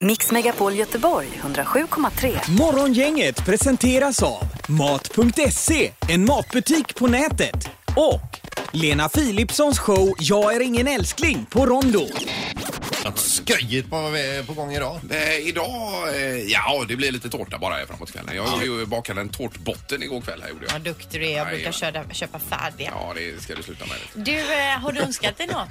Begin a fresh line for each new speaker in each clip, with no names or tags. Mix Megapol Göteborg 107,3.
Morgongänget presenteras av Mat.se, en matbutik på nätet. Och Lena Philipssons show Jag är ingen älskling på Rondo.
Sköjigt på, på gång idag.
Eh, idag, eh, ja det blir lite tårta bara här framåt kvällen. Jag ja. bakade en tårtbotten igår kväll här gjorde
Vad
jag.
duktig du är. Jag brukar
Jajamän.
köra, köpa färdiga.
Ja, det ska du sluta med. vet
Du, eh, har du önskat dig något?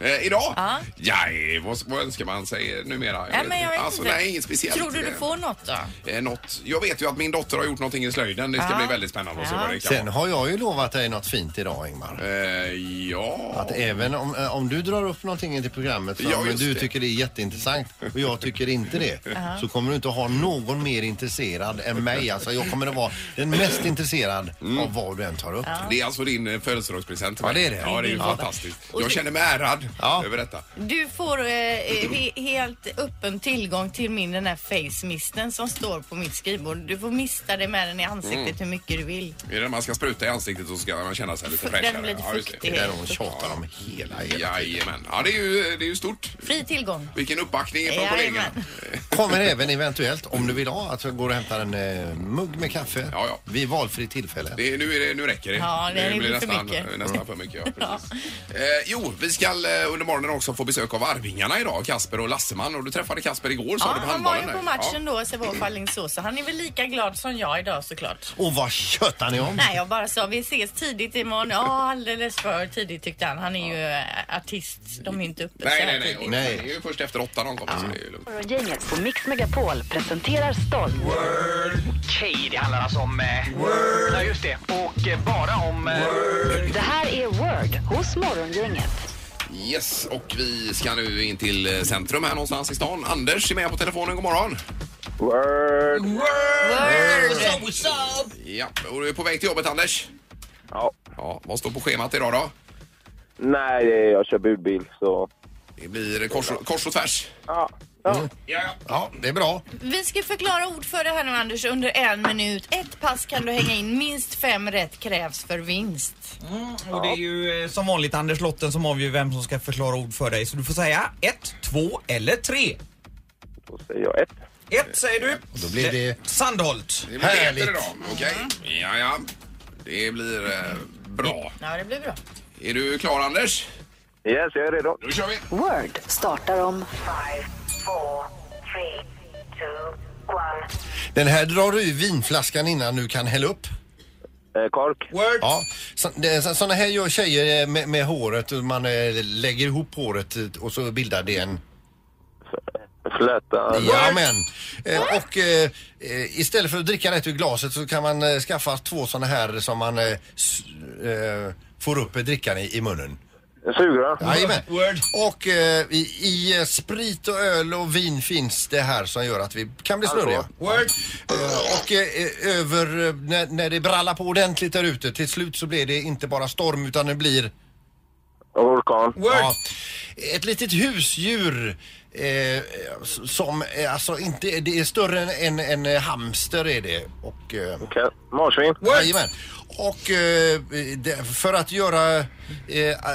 du. Eh, idag?
Ja.
Ja, eh, vad, vad önskar man sig numera?
Nej, men jag vet
alltså,
inte.
Nej, inget speciellt.
Tror du du får något då?
Eh, något. Jag vet ju att min dotter har gjort någonting i slöjden. Det ska
Ja.
bli väldigt spännande att se
Ja.
vad det kan
Sen
vara.
har jag ju lovat dig något fint idag Ingmar.
Eh, ja.
Att även om, eh, om du drar upp någonting i programmet som
Ja, just
du
det.
tycker det är jätteintressant och jag tycker inte det så kommer du inte ha någon mer intresserad än mig. Alltså jag kommer att vara den mest intresserad
Mm.
av vad du än tar upp.
Det är alltså din eh, födelsedagspresent.
Ja, det är det.
Ja, det är ju
Ja.
fantastiskt.
Och
Jag
det-
känner mig ärad
Ja.
över detta.
Du får eh, he helt öppen tillgång till min den här face misten som står på mitt skrivbord. Du får mista det med den i ansiktet
Mm.
hur mycket du vill.
Är det när man ska spruta i ansiktet så ska man känna sig lite
Den
fräschare?
blir lite
Ja, just det.
fuktig.
Det är de tjatar om hela, hela
Jajamän. Ja, det är ju, det är ju stort.
Fri tillgång.
Vilken uppbackning från kollegorna.
Jajamän.
Kommer även eventuellt, om du vill ha, att jag går och hämtar en eh, mugg med kaffe
Ja, ja.
vid valfritt tillfälle.
Det, är- nu, är det, nu räcker det.
Ja, det
Nu
är
blir
lite för
nästan,
mycket.
nästan för mycket. Ja, precis. eh, jo, vi ska eh, under morgonen också få besök av Arvingarna idag, Kasper och Lasseman. Och du träffade Kasper igår sa
Ja,
du på
han var
handbollen.
ju på
där.
matchen då, Sävehof Alingsås, så han är väl lika glad som jag idag såklart.
Och vad tjötar ni om?
Nej, jag bara sa vi ses tidigt imorgon. Ja, alldeles för tidigt tyckte han. Han är ju eh, artist. De är inte uppe
Ja. Nej,
så här
nej, nej.
tidigt.
Och
Nej.
Det är ju först efter åtta de kommer. Så det är ju lugnt.
Morgongänget på Mix Megapol presenterar stolt.
Okej, det handlar alltså om... Eh, Word. Ja, just det. Och eh, bara om... Eh,
Det här är Word hos Morgongänget.
Yes, och vi ska nu in till eh, centrum här någonstans i stan. Anders är med på telefonen. God morgon.
Word!
Word!
Ja, och du är på väg till jobbet, Anders.
Ja.
Ja, vad står på schemat idag då?
Nej, det är- jag kör budbil så...
Det blir kors, och- kors och tvärs.
Ja. ja.
Mm.
Ja, ja.
Ja, det är bra.
Vi ska förklara ord för det här nu Anders under en minut. Ett pass kan du hänga in. Minst fem rätt krävs för vinst.
Mm, Och det är ju eh, som vanligt Anders Lotten som avgör vem som ska förklara ord för dig. Så du får säga ett, två eller tre.
Då säger jag ett.
Ett säger du. Eh,
Då blir det...
Sandholt.
Det blir
Härligt.
Härligt. Mm. idag. Okej. Ja, ja. Det blir eh, bra.
Ja, det blir bra.
Är du klar, Anders?
Yes, jag är redo.
Då kör vi.
Word startar om
Den här drar du i vinflaskan innan du kan hälla upp.
Eh, kork.
Word.
Ja, så- det- så- såna här gör tjejer eh, med, med håret. och Man eh, lägger ihop håret eh, och så bildar det en...
Flöta.
Jajamän. Eh, Och eh, eh, istället för att dricka rätt ur glaset så kan man eh, skaffa två såna här som man eh, s- eh, får upp eh, drickan i, i munnen.
Sugrör.
Jajamän.
Word.
Och eh, i, i eh, sprit och öl och vin finns det här som gör att vi kan bli snurriga.
Alltså, Word.
Eh, Och eh, över, eh, när, när det brallar på ordentligt där ute, till slut så blir det inte bara storm utan det blir
Orkan.
Word.
ja, ett litet husdjur eh, s- som eh, alltså inte, det är större än en, en hamster är det. Och, eh,
Okej. Marsvin.
Jajamän. Och eh, det- för att göra eh,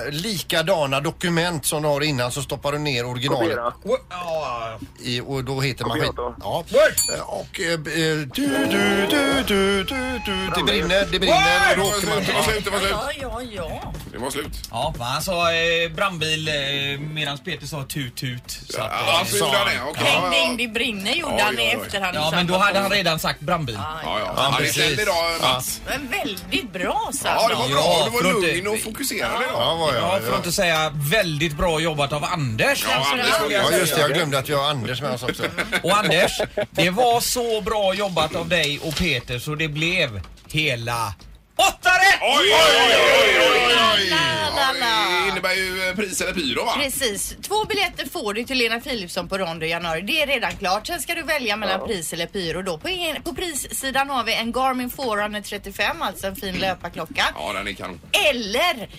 likadana dokument som du har innan så stoppar du ner originalet
Kopiera.
Word. Ja.
i, och då heter man...
Kopiator.
Ja.
Word.
Eh, Och... eh, b- eh, Du, du, du, du, du, du. Det brinner, det brinner och
Det
då
var
åker man...
slut, det var slut, det var slut.
Ja, ja, ja.
Det var slut.
Ja, men han sa eh, brandbil eh, medan Peter sa tut tut. Så att, eh,
Ja, så gjorde han det. Okej.
Ding, ding, det brinner gjorde
Oj,
han i
oj, oj.
efterhand.
ja, men då hade han redan sagt brandbil.
Ja, ja.
Ja,
Han är
precis.
snäll idag, Mats.
Men väldigt bra
eh, Ja,
Sandra.
det var
Ja,
bra. Du
för att
var
inte-
lugn och fokuserad
Ja,
idag.
vad
Ja,
jag,
för att inte säga väldigt bra jobbat av Anders.
Ja, Anders var
ja,
lugn.
just det. Jag glömde att jag har Anders med oss också.
Och Anders, det var så bra jobbat av dig och Peter så det blev hela åtta rätt!
Oj, oj, oj, oj, oj, oj. Ja,
La, la, la.
Det innebär ju eh, pris eller pyro, va?
Precis. Två biljetter får du till Lena Philipsson på Rondo i januari. Det är redan klart. Sen ska du välja mellan pris eller pyro. Då. På, en, på prissidan har vi en Garmin Forerunner 35, alltså en fin löparklocka.
Ja, den är kanon.
Eller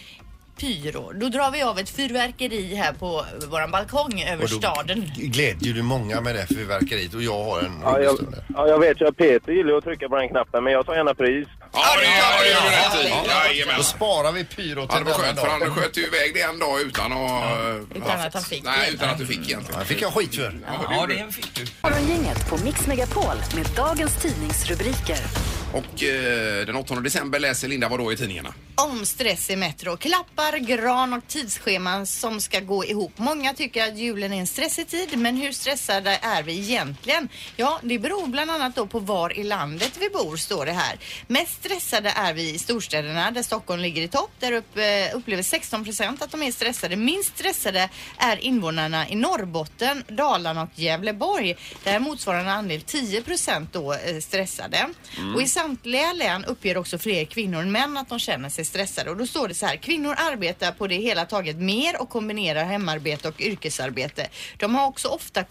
pyro. Då drar vi av ett fyrverkeri här på våran balkong över
Och då-
staden.
Glädjer du många med det fyrverkeriet och jag har en
Ja, jag,
rullstol där.
ja, jag vet ju att Peter gillar att trycka på den knappen men jag tar gärna pris.
Ja, det gör det gör du rätt i. Jajamän.
Då sparar vi pyro
Ja, det var
till denna
skönt för
dag.
han sköt ju iväg det en dag utan att... eh,
Utan att han fick
Nej,
det.
utan att du fick egentligen.
Det fick jag skit för.
Ja, det gjorde du.
Morgongänget på Mix Megapol med dagens tidningsrubriker.
Och eh, den 8 december läser Linda vad då i tidningarna?
Om stress i Metro. Klappar, gran och tidsscheman som ska gå ihop. Många tycker att julen är en stressig tid, men hur stressade är vi egentligen? Ja, det beror bland annat då på var i landet vi bor, står det här. Mest stressade är vi i storstäderna där Stockholm ligger i topp. Där upp, eh, upplever 16 procent att de är stressade. Minst stressade är invånarna i Norrbotten, Dalarna och Gävleborg. Där är motsvarande andel 10 procent då eh, stressade. Och i samtliga län uppger också fler kvinnor än män att de känner sig stressade. Och då står det så här, kvinnor arbetar på det hela taget mer och kombinerar hemarbete och yrkesarbete. De har också ofta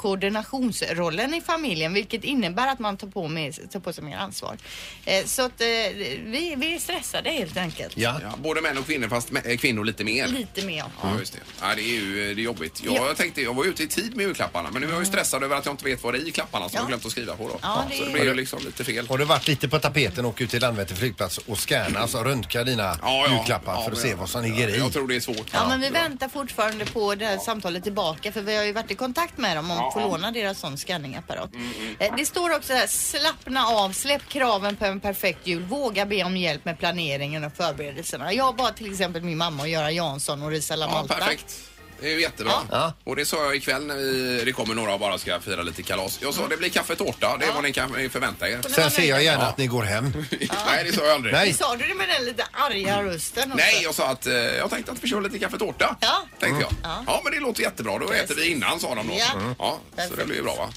koordinationsrollen i familjen vilket innebär att man tar på, med, tar på sig mer ansvar. Eh, så att eh, vi, vi är stressade helt enkelt.
Ja. Mm.
Ja, både män och kvinnor, fast mä- eh, kvinnor lite mer.
Lite mer.
Ja, just det. Ja, det är ju eh, det är jobbigt. Jag,
Ja.
jag tänkte, jag var ute i tid med julklapparna, men nu är jag ju stressad över att jag inte vet vad det är i klapparna som jag
Ja.
glömt att skriva på då.
Ja, det
Så det
är-
blir ju liksom lite fel.
Har du varit lite på tapeten och åkt ut till Landvetter flygplats och scanna, alltså röntga dina julklappar
Ja,
för
men-
att se vad som ligger
ja,
i?
Jag tror det är svårt.
Ja, men vi
Ja.
väntar fortfarande på det här samtalet tillbaka för vi har ju varit i kontakt med dem om att få låna deras sån scanningapparat.
Mm,
Eh, Det står också här, slappna av, släpp kraven på en perfekt jul, våga be om hjälp med planeringen och förberedelserna. Jag bad till exempel min mamma att göra Jansson och Risa La
Ja,
Malta.
perfekt. Det är ju jättebra.
Ja.
Och det sa jag ikväll när vi, det kommer några och bara ska fira lite kalas. Jag sa
Mm.
det blir kaffe och tårta, det är vad ni kan förvänta er.
Sen ser jag gärna att ni går hem.
Nej, det sa jag aldrig.
Nej.
Sa du det med den lite arga rösten? också?
Mm. Nej, jag sa att eh, jag tänkte att vi kör lite kaffe och tårta.
Ja.
Tänkte jag. Ja. men det låter jättebra. Då äter vi innan sa de då.
Ja.
Mm. Ja, så det
Perfekt. Mm.
blir ju bra va?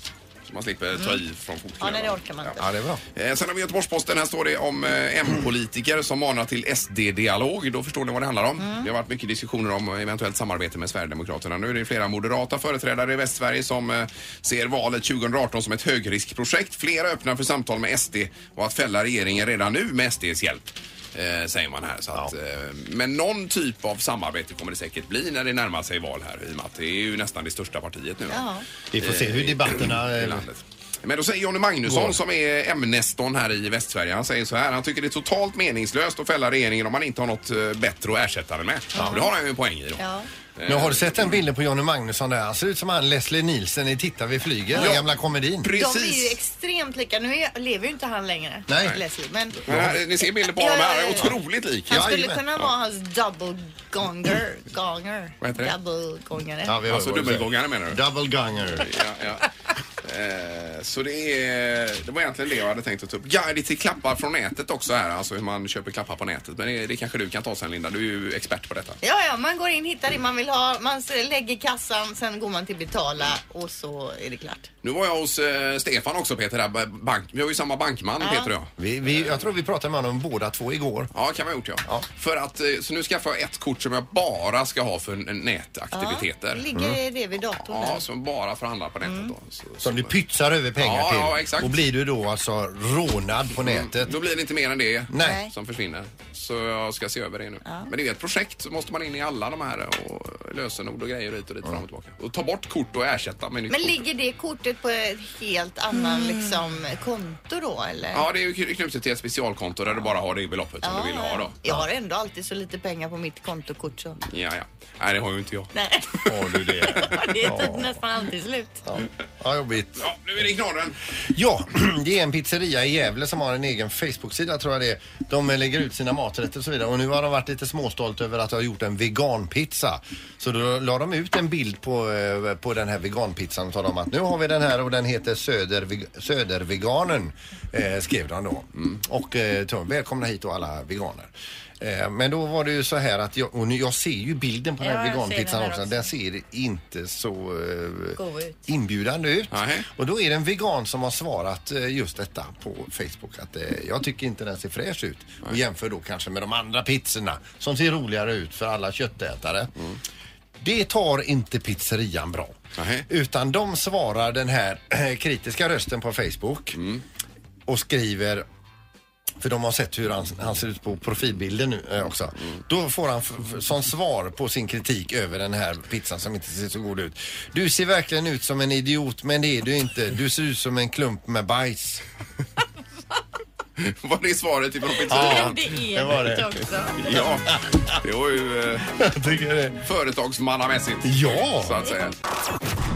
Så man slipper ta i från
Ja,
fotknölarna.
nej det orkar man inte.
Ja, det är bra.
Eh, Sen har vi Göteborgs-Posten. Här står det om eh, M-politiker som manar till SD-dialog. Då förstår ni vad det handlar om. Det har varit mycket diskussioner om eh, eventuellt samarbete med Sverigedemokraterna. Nu är det flera moderata företrädare i Västsverige som eh, ser valet 2018 som ett högriskprojekt. Flera öppnar för samtal med SD och att fälla regeringen redan nu med SDs hjälp. Eh, säger man här. Så att, eh, men någon typ av samarbete kommer det säkert bli när det närmar sig val här i och med att det är ju nästan det största partiet nu.
Ja.
Vi får se hur debatterna...
I
eh,
landet. Men då säger Jonny Magnusson som är ämneston här i Västsverige. Han säger så här. Han tycker det är totalt meningslöst att fälla regeringen om man inte har något eh, bättre att ersätta den med. Och det har han ju en poäng i då. Eh,
Ja.
Nu har du sett den bilden på Johnny Magnusson där? Han ser ut som han Leslie Nielsen i Titta vi flyger, den gamla komedin.
De är ju
Precis.
extremt lika. Nu är- lever ju inte han längre,
Nej.
Leslie. Men
Här, ni ser bilder på
Ja,
honom
ja,
här.
ja, ja.
Otroligt lik.
Han
Ja,
skulle
jajamän.
kunna vara hans double gonger. gonger.
Vad heter det?
Double gongare.
Ja, vi hör
Alltså
vad du säger.
dubbelgångare menar du?
Double ganger.
Ja, ja. Eh, Så det, är, det var egentligen det jag hade tänkt att ta upp. Guide till klappar från nätet också här, alltså hur man köper klappar på nätet. Men det, det kanske du kan ta sen Linda, du är ju expert på detta.
Ja, ja, man går in, hittar det man vill ha, man s- lägger kassan, sen går man till betala och så är det klart.
Nu var jag hos eh, Stefan också Peter, där, ba- bank, vi har ju samma bankman Peter och jag.
Vi, vi, jag tror vi pratade med honom båda två igår.
Ja, kan man ha gjort ja. För att, eh, så nu skaffar jag ett kort som jag bara ska ha för n-
Ja,
nätaktiviteter.
ligger det vid datorn
Ja,
där?
som bara får handla på nätet då. Så,
Som du pytsar över pengar
Ja,
till.
ja, exakt. Mm.
Och blir du då alltså rånad på nätet.
då blir det inte mer än det
Nej.
som försvinner. Så jag ska se över det nu. Men det är ett projekt så måste man in i alla de här och lösenord och grejer hit och dit fram och tillbaka. Och ta bort kort och ersätta med nytt
Men
kort.
ligger det kortet på ett helt annan liksom, konto då eller?
Ja, det är ju kn- knutet till ett specialkonto där du bara har det beloppet som du vill ha då.
Jag har ändå alltid så lite pengar på mitt kontokort så.
Ja, ja. Nej, det har ju inte jag.
Nej.
Har du det?
Det är typ nästan alltid slut.
Ja, jobbigt.
Ja, nu är det knorren.
Ja, det är en pizzeria i Gävle som har en egen Facebook-sida tror jag det är. De lägger ut sina maträtter och så vidare och nu har de varit lite småstolt över att de har gjort en veganpizza. Så då la de ut en bild på, eh, på den här veganpizzan och talade om att nu har vi den här och den heter Söder, Söderveganen. Eh, skrev de då. Och eh, tog- välkomna hit då alla veganer. Eh, Men då var det ju så här att jag, och nu, jag ser ju bilden på den här
Ja, jag ser den
veganpizzan
här
också.
också.
Den ser inte så eh,
Gå ut.
inbjudande ut.
Nej.
Och då är det en vegan som har svarat eh, just detta på Facebook att eh, jag tycker inte den ser fräsch ut och jämför då kanske med de andra pizzorna som ser roligare ut för alla köttätare. Det tar inte pizzerian bra.
Nej.
Utan de svarar den här eh, kritiska rösten på Facebook och skriver för de har sett hur han, han ser ut på profilbilden nu eh, också. Då får han f- f- som svar på sin kritik över den här pizzan som inte ser så god ut. Du ser verkligen ut som en idiot men det är du inte. Du ser ut som en klump med bajs.
Var det svaret ifrån
Ja,
pizzerian?
Det
det
är
var
det
det.
också.
Ja, det var ju eh,
Jag tycker det.
företagsmannamässigt.
Ja.
Så att säga.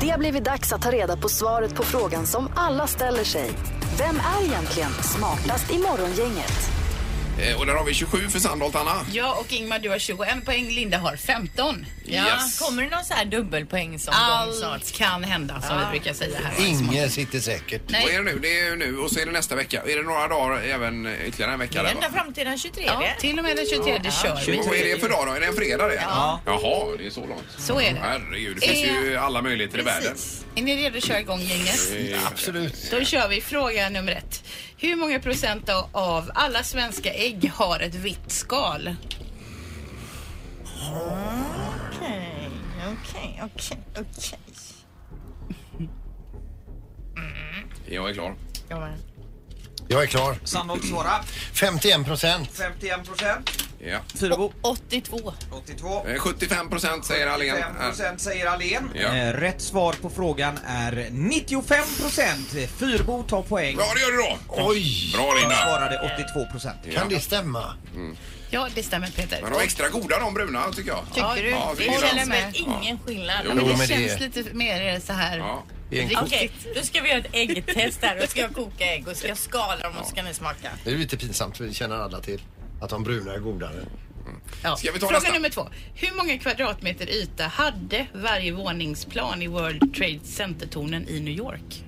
Det har blivit dags att ta reda på svaret på frågan som alla ställer sig. Vem är egentligen smartast i morgongänget?
Eh, Och där har vi 27 för Sandholt, Anna.
Ja, och Ingmar du har 21 poäng, Linda har 15.
Ja,
Yes.
Kommer det någon så här dubbelpoängsomgång snart? Ah.
Allt kan hända som vi brukar säga här.
Ingen sitter säkert.
Nej.
Vad är det nu? Det är ju nu och så är det nästa vecka. Är det några dagar även eh, ytterligare en vecka? där, va?
Ända fram till den 23.
Ja, till och med den 23 kör vi.
Och Vad är det för dag då? Är det en fredag det? Ja. Jaha, det är så långt.
Så är det.
Herregud, det finns
Eh,
ju alla möjligheter i Eh, världen.
Precis. Är ni redo att köra igång gänget?
Absolut.
Då kör vi fråga nummer ett. Hur många procent av- av alla svenska ägg har ett vitt skal?
Okej, okej, okej, okej.
Jag är klar.
Ja, men-
Jag är klar.
Sandholt svara.
51 procent.
51 procent.
Ja.
Fyrebo.
82.
82.
Eh, 75 procent säger Allén.
5 procent säger Allén.
Ja.
Eh, Rätt svar på frågan är 95 procent. Fyrbo tar poäng.
Ja, det gör du då.
Oj!
Bra
Jag
Linda.
svarade 82 procent.
Kan det stämma?
Ja, det stämmer Peter.
Men de är extra goda de bruna tycker jag.
Tycker du?
Ja, det
Jag
är
håller
sant.
med.
Ingen skillnad.
Jo,
Men
Jo,
det
men det
känns
är-
lite mer så här.
Ja.
Det är, en ko-
Okej, då ska vi göra ett äggtest här. Då ska jag koka ägg och ska jag skala dem och så ska ni smaka.
det är lite pinsamt för det känner alla till. Att de bruna är godare.
Ja.
Ska vi ta
Fråga
nästa?
nummer två. Hur många kvadratmeter yta hade varje våningsplan i World Trade Center-tornen i New York?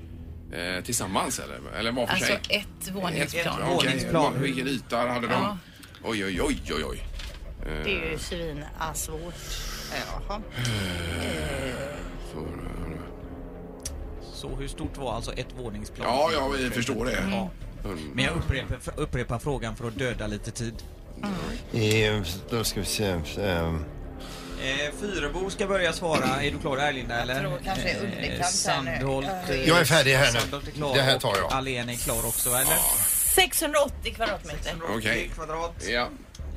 Eh, tillsammans eller? Eller var för
Alltså
sig?
ett
Ett
våningsplan.
plan. Okej.
Våningsplan.
Hur- Vilken yta hade de?
Ja.
Oj, oj, oj, oj, oj.
Det är ju svinasvårt. Jaha.
Så hur stort var alltså ett våningsplan?
Ja, ja, vi förstår det.
Ja.
Mm.
Men jag upprepar, för- upprepar frågan för att döda lite tid.
I, då ska vi se. ehm,
Eh, Fyrebo ska börja svara. Är du klar där Linda? Eller?
tror kanske jag är underkant här nu.
Sandholt, eh,
Jag är färdig här nu.
Sandholt är klar
Det här tar jag.
och Allén är klar också eller?
680 kvadratmeter.
Okej.
kvadrat.
Ja.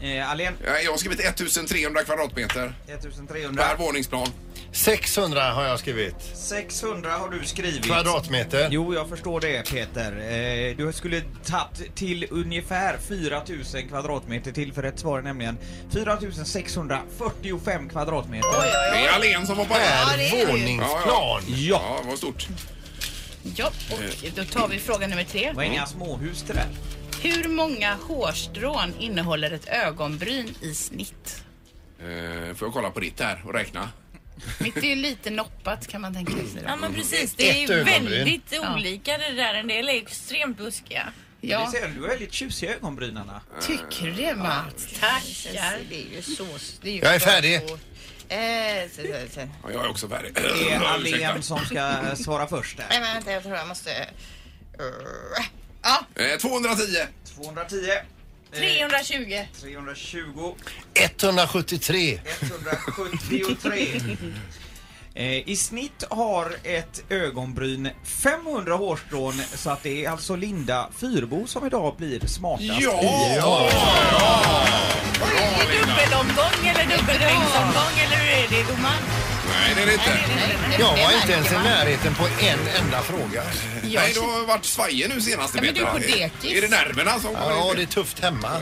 Eh, Allén,
Ja, Jag har skrivit 1300 kvadratmeter
1300.
per våningsplan.
600 har jag skrivit.
600 har du skrivit.
Kvadratmeter.
Jo, jag förstår det Peter. Eh, du skulle tagit till ungefär 4000 kvadratmeter till för rätt svar är nämligen 4645 kvadratmeter.
Det är Allén som får poäng.
Per våningsplan.
Ja,
Ja, vad stort.
Ja,
Eh.
och då tar vi fråga nummer tre.
det var inga småhus det där.
Hur många hårstrån innehåller ett ögonbryn i snitt?
Eh, Får jag kolla på ditt här och räkna?
Mitt är ju lite noppat kan man tänka sig.
Ja
Då.
men precis, det är
Ett
ju
ögonbryn.
väldigt olika det där. En del är ju extremt buskiga.
Ja,
Du ser, du har väldigt tjusiga ögonbryn Anna.
tycker det Mats. Tackar.
Det är ju så... Det är ju
Jag är
för
färdig.
svårt. Eh, så, så, så. Nej
Ja, jag är också färdig.
Det är
Ursäkta.
Allén som ska eh, svara först där.
men vänta, jag tror jag måste... Eh, Ja,
Eh, 210.
210. eh,
320.
320.
173.
173. Eh, I snitt har ett ögonbryn 500 hårstrån så att det är alltså Linda Fyrbo som idag blir smartast.
Ja!
i-
Bra, Linda.
Dubbelomgång eller dubbelregnsomgång eller hur är det domaren?
Nej, det är det inte.
Jag var inte ens i närheten på en enda fråga.
Nej, du har varit svajig nu senast.
men du är på
Peter.
dekis.
Är det nerverna som kommer
Ja,
in?
det är tufft hemma.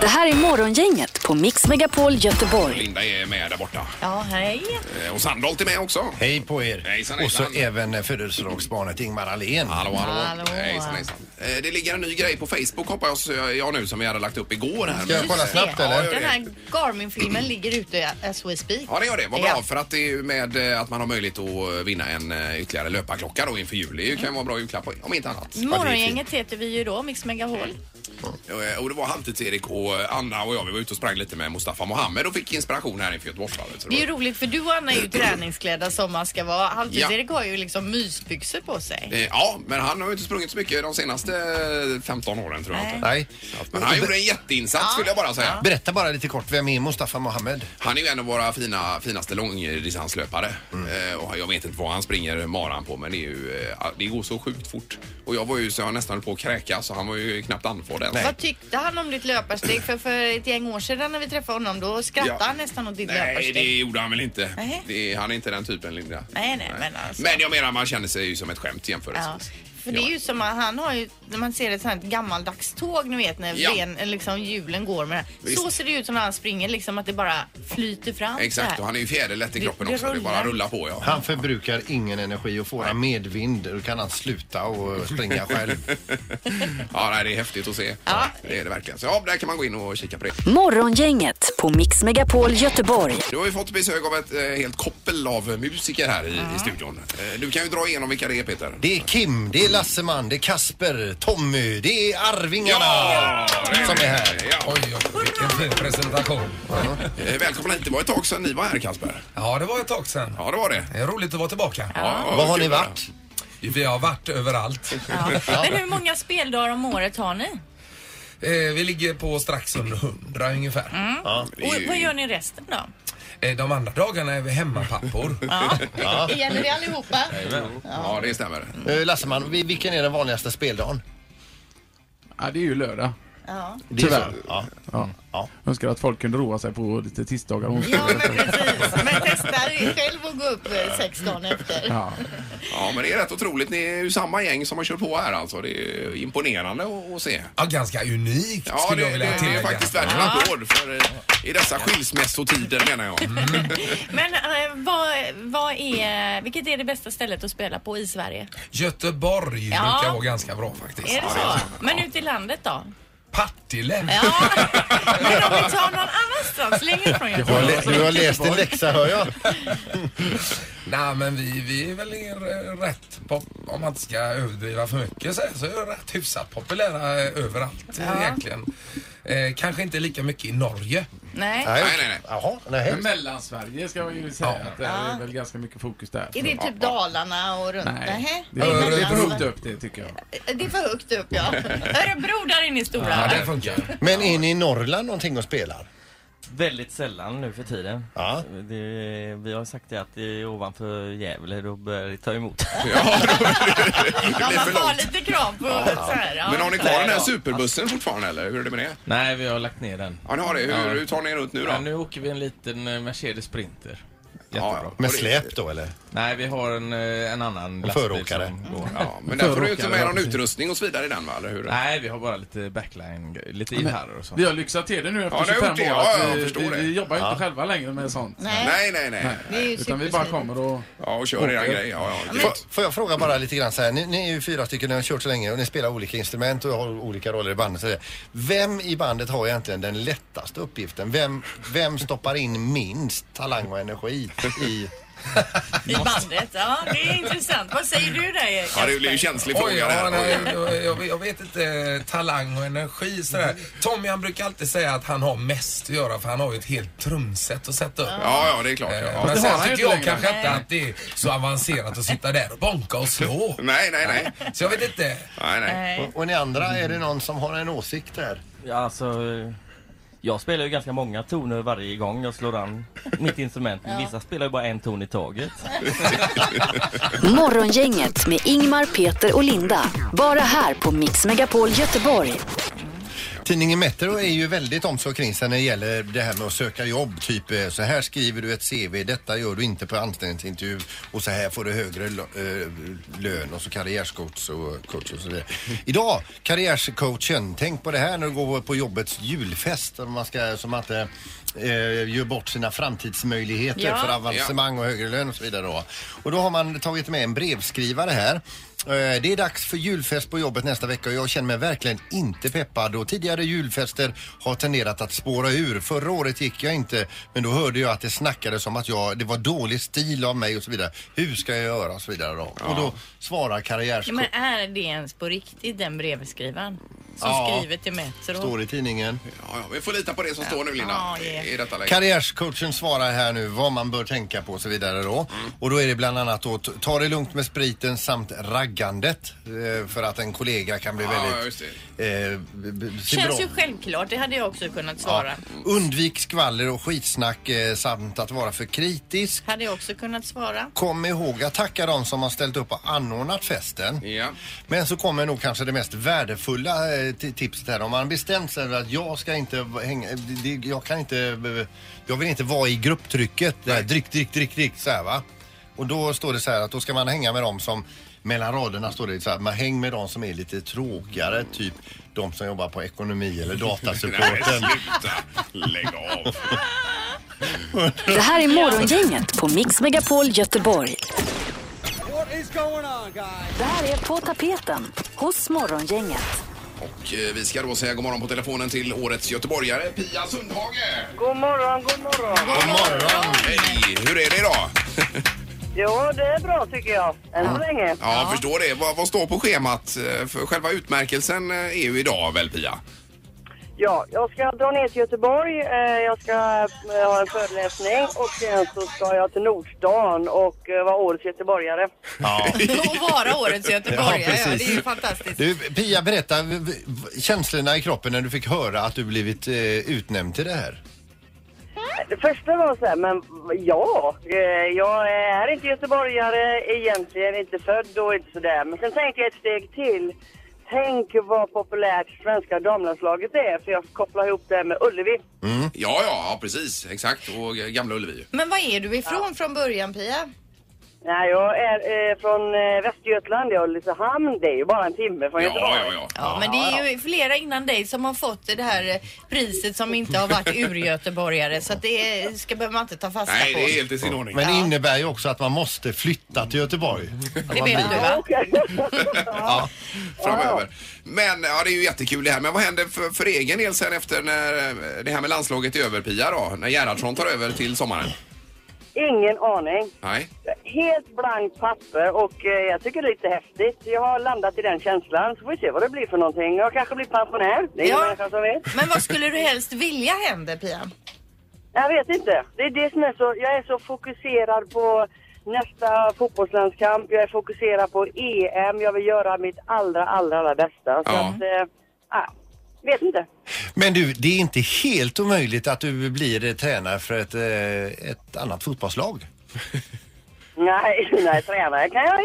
Det här är morgongänget på Mix Megapol Göteborg.
Linda är med där borta.
Ja, hej.
Eh, Och Sandholt är med också.
Hej på er.
Hejsan,
Och så
hejsan.
även eh, födelsedagsbarnet Ingmar Ahlén.
Hallå, hallå.
Hallå.
Hejsan, hejsan. Eh, Det ligger en ny grej på Facebook hoppas jag, jag nu som vi hade lagt upp igår. Här.
Ska jag kolla snabbt,
Ja,
eller?
gör
Den
det.
här Garmin-filmen ligger ute as we speak.
Ja, det gör det. Vad
Ja.
bra, för att det är ju med eh, att man har möjlighet att vinna en eh, ytterligare löparklocka då inför jul. Det kan
Mm.
ju vara bra julklapp om inte annat.
Morgongänget heter vi ju då, Mix Megahol.
Eh, Och det var Halvtids-Erik och eh, Anna och jag, vi var ute och sprang lite med Mustafa Mohamed och fick inspiration här inför Göteborgsvarvet. Så
Det är ju
var-
roligt för du och Anna är ju träningsklädda som man ska vara. Halvtids-Erik har ju liksom mysbyxor på sig.
Eh, Ja, men han har ju inte sprungit så mycket de senaste eh, 15 åren tror jag inte.
Nej.
Men han gjorde en jätteinsats skulle jag bara säga.
Berätta bara lite kort, vem är Mustafa Mohamed?
Han är ju en av våra fina, finaste långdistanslöpare. Eh, och jag vet inte vad han springer maran på men det, är ju, eh, det går så sjukt fort. Och jag var ju så jag nästan höll på att kräkas så han var ju knappt andfådd ens.
Vad tyckte han om ditt löparsteg? För, för ett gäng år sedan när vi träffade honom då skrattade
Ja.
han nästan åt ditt
Nej,
löparsteg.
det gjorde han väl inte.
Nej.
Det, han är inte den typen, Linda.
Nej, nej, men alltså.
Men jag menar, man känner sig ju som ett skämt
Ja.
jämförelsevis.
För det är ju som att han har ju, när man ser ett sånt här gammaldags tåg, ni vet när
Ja.
ben, liksom hjulen går med det. här. Så
Visst.
ser det ut som när han springer, liksom att det bara flyter fram. så
Exakt,
här.
och han är ju fjäderlätt i
Det-
kroppen
det
också. Det bara
rullar.
rullar på ja.
Han förbrukar ingen energi och får han medvind då kan han sluta och springa själv.
Ja, nej, det är häftigt att se. Ja. Det är det verkligen. Så ja, där kan man gå in och kika på det.
Morgongänget på Mix Megapol Göteborg.
Du har ju fått besök av ett eh, helt koppel av musiker här i, i studion. Eh, du kan ju dra igenom vilka det är Peter.
Det är Kim, det är Lasseman, det är Kasper, Tommy, det är Arvingarna som är här.
Ja.
Oj, oj, vilken fin presentation.
Eh, välkomna hit. Det var ett tag sedan ni var här Kasper.
Ja, det var ett tag sedan.
Ja, det var det.
Det är roligt att vara tillbaka.
Ja,
Var har
kul
ni
det.
varit?
Vi har varit överallt.
Ja. Men hur många speldagar om året har ni?
Eh, vi ligger på strax under 100 ungefär.
Mm.
Och vad gör ni resten då?
Eh, de andra dagarna är vi hemmapappor.
Ja. Gäller det allihopa?
Ja, det stämmer.
Eh, Lasseman, vi- vilken är den vanligaste speldagen?
Ja, det är ju lördag.
Ja.
Det är så.
Tyvärr.
Ja.
Ja.
Ja.
Önskar att folk kunde roa sig på lite tisdagar och
Ja,
onsdagar.
men precis. Men testa ju själv att gå upp eh, sex dagar efter.
Ja.
Ja, men det är rätt otroligt. Ni är ju samma gäng som har kört på här alltså. Det är ju imponerande att att se.
Ja, ganska unikt
Ja,
skulle
det,
jag
det, det
vilja
är
tillägga.
faktiskt värt en applåd för eh, i dessa skilsmässotider menar jag.
Men eh, vad, vad är, vilket är det bästa stället att spela på i Sverige?
Göteborg
Ja.
brukar vara ganska bra faktiskt.
Är det så? Men ute i landet då?
Partille.
Ja. Men om vi tar någon annanstans längre från
Du har,
Göteborg?
lä- du har läst en läxa hör jag.
Nej, men vi, vi är väl er- rätt, pop, om man inte ska överdriva för mycket så, här, så är vi rätt hyfsat populära eh, överallt eh, egentligen. Eh, kanske inte lika mycket i Norge.
Nej.
Äh,
Nej, nej, nej.
Jaha, nej.
Men Mellansverige ska jag ju säga att det är väl ganska mycket fokus där.
Är det typ Dalarna och runt?
Nej,
Nähä? Alltså-
det är, det är för högt upp det tycker jag.
Det är för högt upp ja.
Örebro där inne i stora.
Ja, det funkar.
Men är ni i Norrland någonting och spelar?
Väldigt sällan nu för tiden.
Ja.
Det, vi har sagt det att det är ovanför Gävle, då börjar det ta emot.
Ja, man har lite krav på så här. Ja.
Men har ni kvar den här superbussen fortfarande eller hur är det med det?
Nej, vi har lagt ner den.
Ja, ni har det. Hur, hur tar ni er ut nu då?
Ja, nu åker vi en liten eh, Mercedes Sprinter.
Ja,
Med
och det-
släp då eller?
Nej, vi har en, eh, en annan
En
lastbil
föråkare.
som går.
Ja, men där får du inte
Föråkare,
med
ja,
någon
precis.
utrustning och så vidare i den va? Eller hur?
Nej, vi har bara lite backline, lite
men-
gitarrer och sånt.
Vi har lyxat till det nu efter
Ja, ni har
25
gjort
år.
det. Ja,
att
jag
vi,
förstår
vi,
det.
vi jobbar ju
Ja.
inte själva längre med sånt.
Nej.
Nej, nej, nej.
Det är ju
Utan vi bara
supersmidigt.
kommer och...
Ja, och kör era
Åker.
grejer. Ja, ja.
Får, får jag fråga bara lite grann så här. Ni, ni är ju fyra stycken, ni har kört så länge och ni spelar olika instrument och har olika roller i bandet. Så där. Vem i bandet har egentligen den lättaste uppgiften? Vem, vem stoppar in minst talang och energi i...
I bandet. Ja, det är intressant. Vad säger du där Erik?
Ja, det är ju en känslig
Oj,
fråga det
ja,
här.
nej, jag, jag, jag vet inte. eh, Talang och energi sådär.
Mm.
Tommy han brukar alltid säga att han har mest att göra för han har ju ett helt trumset att sätta upp.
Ja, ja, det är klart.
Eh,
Ja.
Men
det har
sen
han ju
tycker jag
inte längre.
kanske inte att det är så avancerat att sitta där och bonka och slå.
Nej, nej, nej.
Så jag vet inte.
Nej, nej.
Nej.
Och, och ni andra, är det någon som har en åsikt där?
Ja, alltså, eh, jag spelar ju ganska många toner varje gång jag slår an mitt instrument. men Vissa spelar ju bara en ton i taget.
Morgongänget med Ingmar, Peter och Linda. Bara här på Mix Megapol Göteborg.
Tidningen Metro är ju väldigt om sig och kring sig när det gäller det här med att söka jobb. Typ eh, så här skriver du ett CV, detta gör du inte på anställningsintervju och så här får du högre lo- eh, lön och så karriärscoach och coach och så vidare. Idag, karriärscoachen, tänk på det här när du går på jobbets julfest om man ska, så man inte eh, gör bort sina framtidsmöjligheter
Ja.
för avancemang och högre lön och så vidare. Då. Och då har man tagit med en brevskrivare här. Eh, Det är dags för julfest på jobbet nästa vecka och jag känner mig verkligen inte peppad och tidigare julfester har tenderat att spåra ur. Förra året gick jag inte men då hörde jag att det snackades om att jag, det var dålig stil av mig och så vidare. Hur ska jag göra och så vidare då? Och då svarar
Ja,
karriärskort
Men är det ens på riktigt den brevskrivaren som
Ja.
skriver till Metro?
står i tidningen.
Ja, ja, vi får lita på det som står nu, Linda.
Ja, ja.
I detta läge.
Karriärscoachen svarar här nu vad man bör tänka på och så vidare då.
Mm.
Och då är det bland annat då t- ta det lugnt med spriten samt raggandet eh, för att en kollega kan bli
Ja,
väldigt...
just det.
Eh, b- b- se
Känns
bra.
ju självklart. Det hade jag också kunnat svara.
Undvik skvaller och skitsnack eh, samt att vara för kritisk.
Hade jag också kunnat svara.
Kom ihåg att tacka de som har ställt upp och anordnat festen.
Ja.
Men så kommer nog kanske det mest värdefulla eh, ti- tipset här. Om man bestämt sig för att jag ska inte v- hänga, eh, det- eh, jag kan inte, jag vill inte vara i grupptrycket. Det här, drick, drick, drick, drick så här va. Och då står det så här att då ska man hänga med dem som, mellan raderna står det så här, man häng med de som är lite tråkigare, typ de som jobbar på ekonomi eller datasupporten.
Nej, sluta. Lägg av.
Det här är Morgongänget på Mix Megapol Göteborg.
What is going on guys?
Det här är På tapeten hos Morgongänget.
Och eh, vi ska då säga god morgon på telefonen till årets göteborgare Pia Sundhage.
God morgon, god morgon.
God morgon! Hej! Hur är det idag?
Jo, det är bra tycker jag. Än så länge.
Ja, jag förstår det. Vad, vad står på schemat? Eh, För själva utmärkelsen eh, är ju idag väl Pia?
Ja, jag ska dra ner till Göteborg. eh, Jag ska eh, ha en föreläsning och sen så ska jag till Nordstan och eh, vara årets göteborgare.
Ja.
Och vara årets göteborgare,
Ja,
ja,
precis.
det är ju fantastiskt.
Du, Pia, berätta v- v- känslorna i kroppen när du fick höra att du blivit eh, utnämnd till det här.
Det första var så här, men ja, eh, jag är inte göteborgare egentligen, inte född och inte sådär. Men sen tänkte jag ett steg till. Tänk vad populärt svenska damlandslaget är, för jag kopplar ihop det med Ullevi.
Ja, ja, ja, precis. Exakt. Och Gamla Ullevi.
Men var är du ifrån från början Pia?
Nej, jag är eh, från eh, Västergötland, jag är Ulricehamn. Det är ju bara en timme från
Ja,
Göteborg.
ja, ja.
Ja, men det är ju flera innan dig som har fått det här eh, priset som inte har varit urgöteborgare så att det är- ska behöver man inte ta fasta på.
Men det innebär ju också att man måste flytta till Göteborg.
Det vet du va?
Ja, framöver. Men ja, det är ju jättekul det här. Men vad händer för, för egen del sen efter när eh, det här med landslaget är över Pia då? När Gerhardsson tar över till sommaren?
Ingen aning.
Nej.
Helt blankt papper och eh, jag tycker det är lite häftigt. Jag har landat i den känslan, så får vi se vad det blir för någonting. Jag kanske blir pensionär, det är ingen
Ja.
människa som vet.
Men vad skulle du helst vilja händer Pia?
Jag vet inte. Det är det som är så, jag är så fokuserad på nästa fotbollslandskamp, jag är fokuserad på EM, jag vill göra mitt allra, allra, allra bästa. Så att, eh, ah, vet inte.
Men du, det är inte helt omöjligt att du blir eh, tränare för ett, eh, ett annat fotbollslag.
Nej, nej tränare kan jag,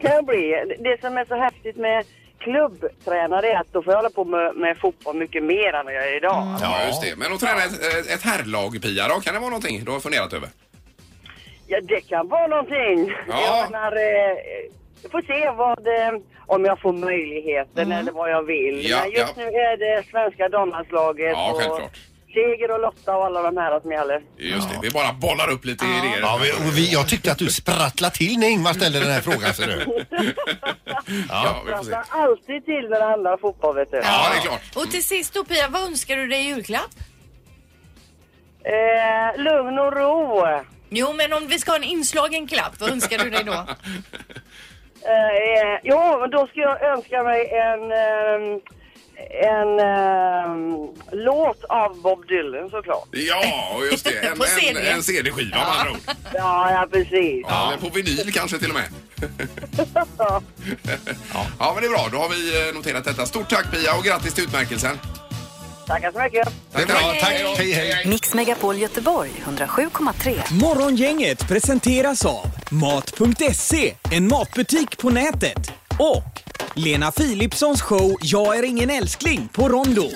kan jag bli. Det som är så häftigt med klubbtränare är att då får jag hålla på med, med fotboll mycket mer än vad jag gör idag.
Ja, just det. Men att träna ett, ett herrlag Pia då, kan det vara någonting du har funderat över?
Ja, det kan vara någonting.
Ja.
Jag menar, eh, vi får se vad, eh, om jag får möjligheten
Mm.
eller vad jag vill.
Ja,
Men just
ja.
nu är det svenska damlandslaget
Ja,
och
självklart.
Seger och Lotta och alla de här som gäller.
Just det, vi bara bollar upp lite idéer.
Ja, vi, och vi, jag tyckte att du sprattlade till när Ingmar ställde den här frågan, ser du.
Ja, vi får se.
Jag tar alltid till när det handlar om fotboll, vet du.
Ja, det är klart.
Och till sist då Pia, vad önskar du dig i julklapp?
Eh, lugn och ro. eh,
Jo men om vi ska ha en inslagen klapp, vad önskar du dig då?
Eh, ja, men då ska jag önska mig en, eh, en eh, låt av Bob Dylan såklart.
Ja, och just det. En,
På CD.
en, en CD-skiva med andra ord.
Ja, ja precis.
Ja, eller på vinyl kanske till och med. ja. men det är bra. Då har vi eh, noterat detta. Stort tack Pia och grattis till utmärkelsen.
Tackar så mycket.
Tack,
bra. Tack. Hej, hej.
Mix Megapol Göteborg 107,3.
Morgongänget presenteras av Mat.se, en matbutik på nätet och Lena Philipssons show Jag är ingen älskling på Rondo.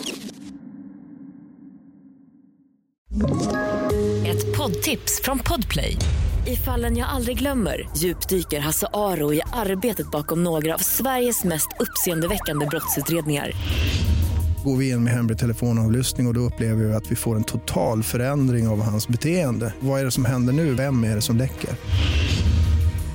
Ett poddtips från Podplay. I fallen jag aldrig glömmer djupdyker Hasse Aro i arbetet bakom några av Sveriges mest uppseendeväckande brottsutredningar.
Går vi in med hemlig telefonavlyssning och, och då upplever vi att vi får en total förändring av hans beteende. Vad är det som händer nu? Vem är det som läcker?